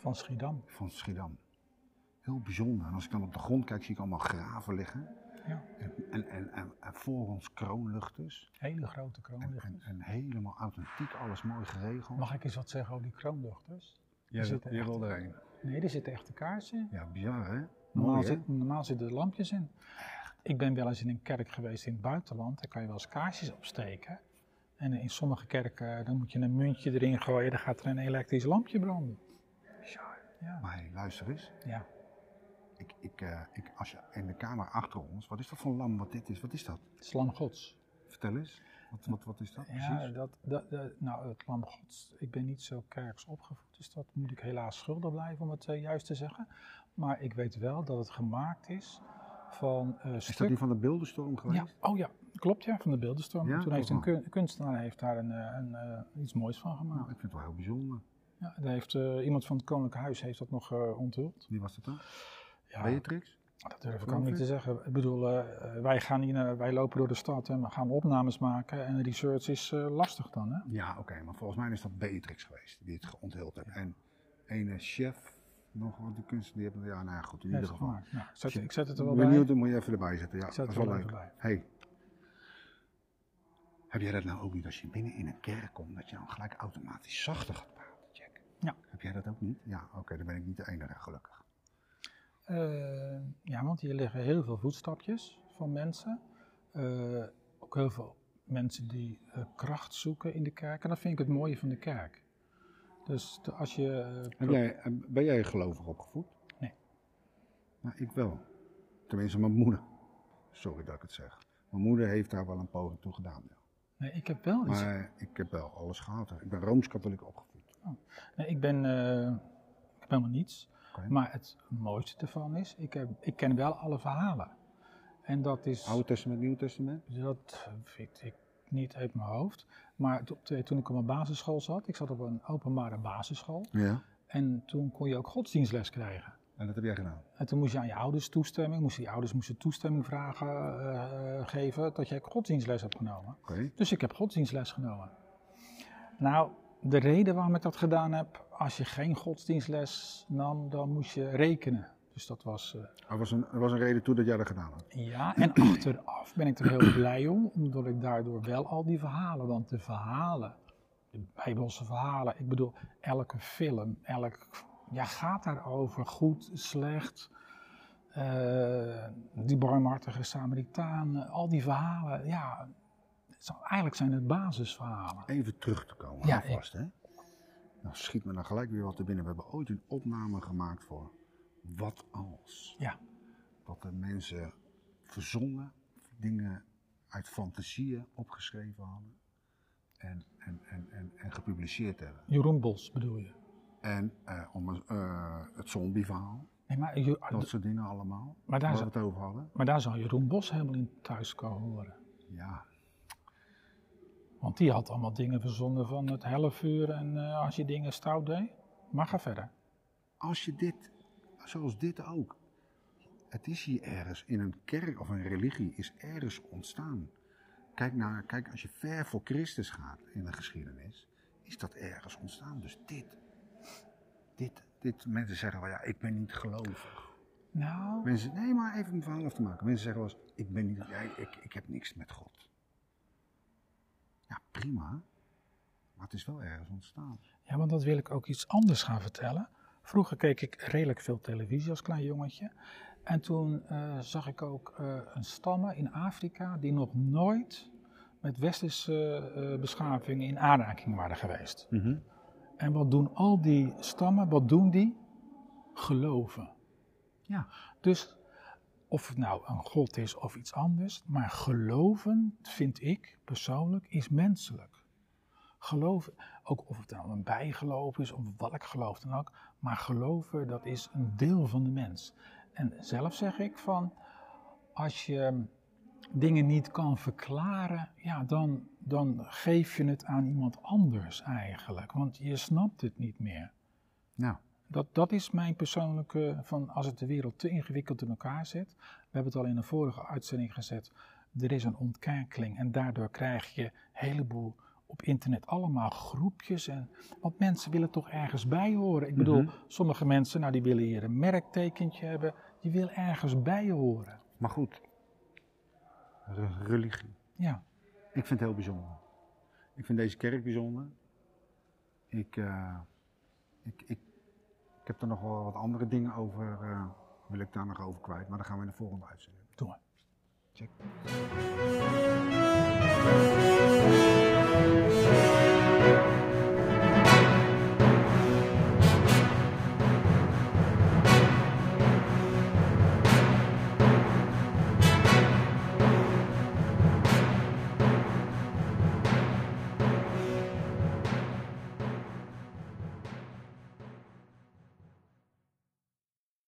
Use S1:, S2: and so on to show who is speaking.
S1: van Schiedam.
S2: van Schiedam. Heel bijzonder. En als ik dan op de grond kijk, zie ik allemaal graven liggen.
S1: Ja.
S2: En, en, en, en voor ons kroonluchters.
S1: Hele grote
S2: En, en,
S1: kroonluchters.
S2: en helemaal authentiek, alles mooi
S1: dus.
S2: geregeld.
S1: Mag ik eens wat zeggen over die kroonluchters?
S2: Jij,
S1: er zitten
S2: wil- jij
S1: echt-
S2: wil er een.
S1: Nee, er zitten echte kaarsen.
S2: Ja, bizar hè?
S1: Normaal,
S2: Mooi hè?
S1: zit, normaal zitten er lampjes in. Ik ben wel eens in een kerk geweest in het buitenland. Daar kan je wel eens kaarsjes opsteken. En in sommige kerken eh, dan moet je een muntje erin gooien. Dan gaat er een elektrisch lampje branden. Ja.
S2: Maar hey, luister eens.
S1: ja.
S2: Ik, ik, eh, ik, als je in de kamer achter ons, wat is dat voor lam wat dit is? Wat is dat?
S1: Het is lam gods.
S2: Vertel eens. Wat, wat, wat is dat
S1: Ja,
S2: precies?
S1: dat, dat, dat- nou, het lam gods. Ik ben niet zo kerks opgevoed. Dus dat moet ik helaas schuldig blijven om het eh, juist te zeggen. Maar ik weet wel dat het gemaakt is van eh
S2: Is dat
S1: stuk
S2: die van de beeldenstorm
S1: Ja,
S2: geweest?
S1: oh ja, klopt ja, van de beeldenstorm.
S2: Ja,
S1: Toen heeft een
S2: klopt wel.
S1: kun- kunstenaar heeft daar een, eh, een, eh, iets moois van
S2: Nou,
S1: gemaakt.
S2: ik vind het wel heel bijzonder.
S1: Ja, daar heeft, eh, iemand van het Koninklijk Huis heeft dat nog eh, onthuld.
S2: Wie was dat dan?
S1: Ja,
S2: Beatrix?
S1: dat durf ik ook
S2: Geloof
S1: niet
S2: ik.
S1: te zeggen. Ik bedoel, eh, eh, wij, gaan hier, naar- wij lopen door de stad en we gaan opnames maken. En research is eh, lastig dan, hè?
S2: Ja, oké, maar volgens mij is dat Beatrix geweest die het onthield heeft. En een chef, nog wat de kunst, die hebben, ja, nou ja, goed, in ieder
S1: Heeft
S2: geval.
S1: gemaakt. Nou, ik zet,
S2: Als je
S1: ik zet het er wel
S2: Benieuwd,
S1: bij.
S2: dan moet je even erbij zetten. Ja,
S1: Ik zet
S2: dat is
S1: het
S2: wel
S1: er wel
S2: leuk.
S1: even bij.
S2: Hey. Heb jij dat nou ook niet als je binnen in een kerk komt, dat je dan gelijk automatisch zachter gaat praten, Jack?
S1: Ja.
S2: Heb jij dat ook niet? Ja, oké, dan ben ik niet de enige, gelukkig.
S1: Eh, ja, want hier liggen heel veel voetstapjes van mensen. Eh, ook heel veel mensen die eh, kracht zoeken in de kerk. En dat vind ik het mooie van de kerk. Dus de- als je. eh,
S2: Heb
S1: pro-
S2: jij, eh, ben jij gelovig opgevoed?
S1: Nee.
S2: Nou, ik wel. Tenminste, mijn moeder. Sorry dat ik het zeg. Mijn moeder heeft daar wel een poging toe gedaan. ja.
S1: Nee, ik heb wel iets.
S2: Maar ik heb wel alles gehad. hè. Ik ben rooms-katholiek opgevoed.
S1: Nee, ik ben. eh, ik heb helemaal niets.
S2: Oké.
S1: Maar het mooiste ervan is, ik, heb, ik ken wel alle verhalen. En dat is.
S2: Oude Testament, Nieuw Testament?
S1: Dat weet ik niet uit mijn hoofd. Maar to- toen ik op mijn basisschool zat, ik zat op een openbare basisschool.
S2: Ja.
S1: En toen kon je ook godsdienstles krijgen.
S2: En dat heb jij gedaan?
S1: En toen moest je aan je ouders toestemming, moesten die ouders moesten toestemming vragen, eh, geven dat jij godsdienstles hebt genomen.
S2: Oké.
S1: Dus ik heb godsdienstles genomen. Nou, de reden waarom ik dat gedaan heb, als je geen godsdienstles nam, dan moest je rekenen. Dus dat was, eh,
S2: Er was, een, er was een reden toe dat jij dat gedaan had.
S1: ja, en achteraf ben ik er heel blij om, omdat ik daardoor wel al die verhalen, want de verhalen, de Bijbelse verhalen, ik bedoel, elke film, elk, ja, gaat daarover, goed, slecht, eh, die barmhartige Samaritaan, al die verhalen, ja, het zou- eigenlijk zijn het basisverhalen.
S2: Even terug te komen.
S1: Ja,
S2: Ja, vast, hè? Nou, schiet me dan gelijk weer wat er binnen. We hebben ooit een opname gemaakt voor Wat Als.
S1: Ja.
S2: Dat de mensen verzonnen, dingen uit fantasieën opgeschreven hadden. En, en, en, en, en gepubliceerd hebben.
S1: Jeroen Bos bedoel je?
S2: En eh, om, een- eh, het zombieverhaal,
S1: Nee, maar, Jo-
S2: dat soort dingen allemaal.
S1: maar, daar
S2: Waar we
S1: zou,
S2: het over hadden.
S1: maar daar zou Jeroen Bos helemaal in thuis komen horen.
S2: Ja,
S1: Want die had allemaal dingen verzonnen van het hellevuur en eh, als je dingen stout deed. Maar ga verder.
S2: als je dit, zoals dit ook, het is hier ergens in een kerk of een religie is ergens ontstaan. Kijk, naar, kijk, als je ver voor Christus gaat in de geschiedenis, is dat ergens ontstaan. Dus dit, dit, dit mensen zeggen wel ja, ik ben niet gelovig.
S1: Nou,
S2: Mensen, nee, maar even een verhaal af te maken. Mensen zeggen wel eens, ik ben niet, jij, ik, ik heb niks met God. Ja, prima. Maar het is wel ergens ontstaan.
S1: ja, want dat wil ik ook iets anders gaan vertellen. Vroeger keek ik redelijk veel televisie als klein jongetje. En toen eh, zag ik ook eh, een stammen in Afrika die nog nooit met westerse eh beschaving in aanraking waren geweest.
S2: Mhm.
S1: En wat doen al die stammen, wat doen die? Geloven.
S2: Ja.
S1: Dus of het nou een god is of iets anders, maar geloven vind ik persoonlijk is menselijk. Geloven, ook of het nou een bijgeloof is of welk geloof dan ook, maar geloven dat is een deel van de mens. En zelf zeg ik van, als je dingen niet kan verklaren, ja, dan, dan geef je het aan iemand anders eigenlijk, want je snapt het niet meer.
S2: Nou,
S1: Dat, dat is mijn persoonlijke, van als het de wereld te ingewikkeld in elkaar zit. We hebben het al in een vorige uitzending gezet. Er is een ontkerkeling en daardoor krijg je een heleboel op internet allemaal groepjes. En, want mensen willen toch ergens bij horen. Ik bedoel,
S2: Mhm.
S1: sommige mensen, nou die willen hier een merktekentje hebben. Die willen ergens bij horen.
S2: Maar goed, re- religie.
S1: Ja,
S2: Ik vind het heel bijzonder. Ik vind deze kerk bijzonder. Ik, eh, ik, ik, ik heb er nog wel wat andere dingen over, eh, wil ik daar nog over kwijt. Maar dan gaan we in de volgende uitzending.
S1: doen we.
S2: Check.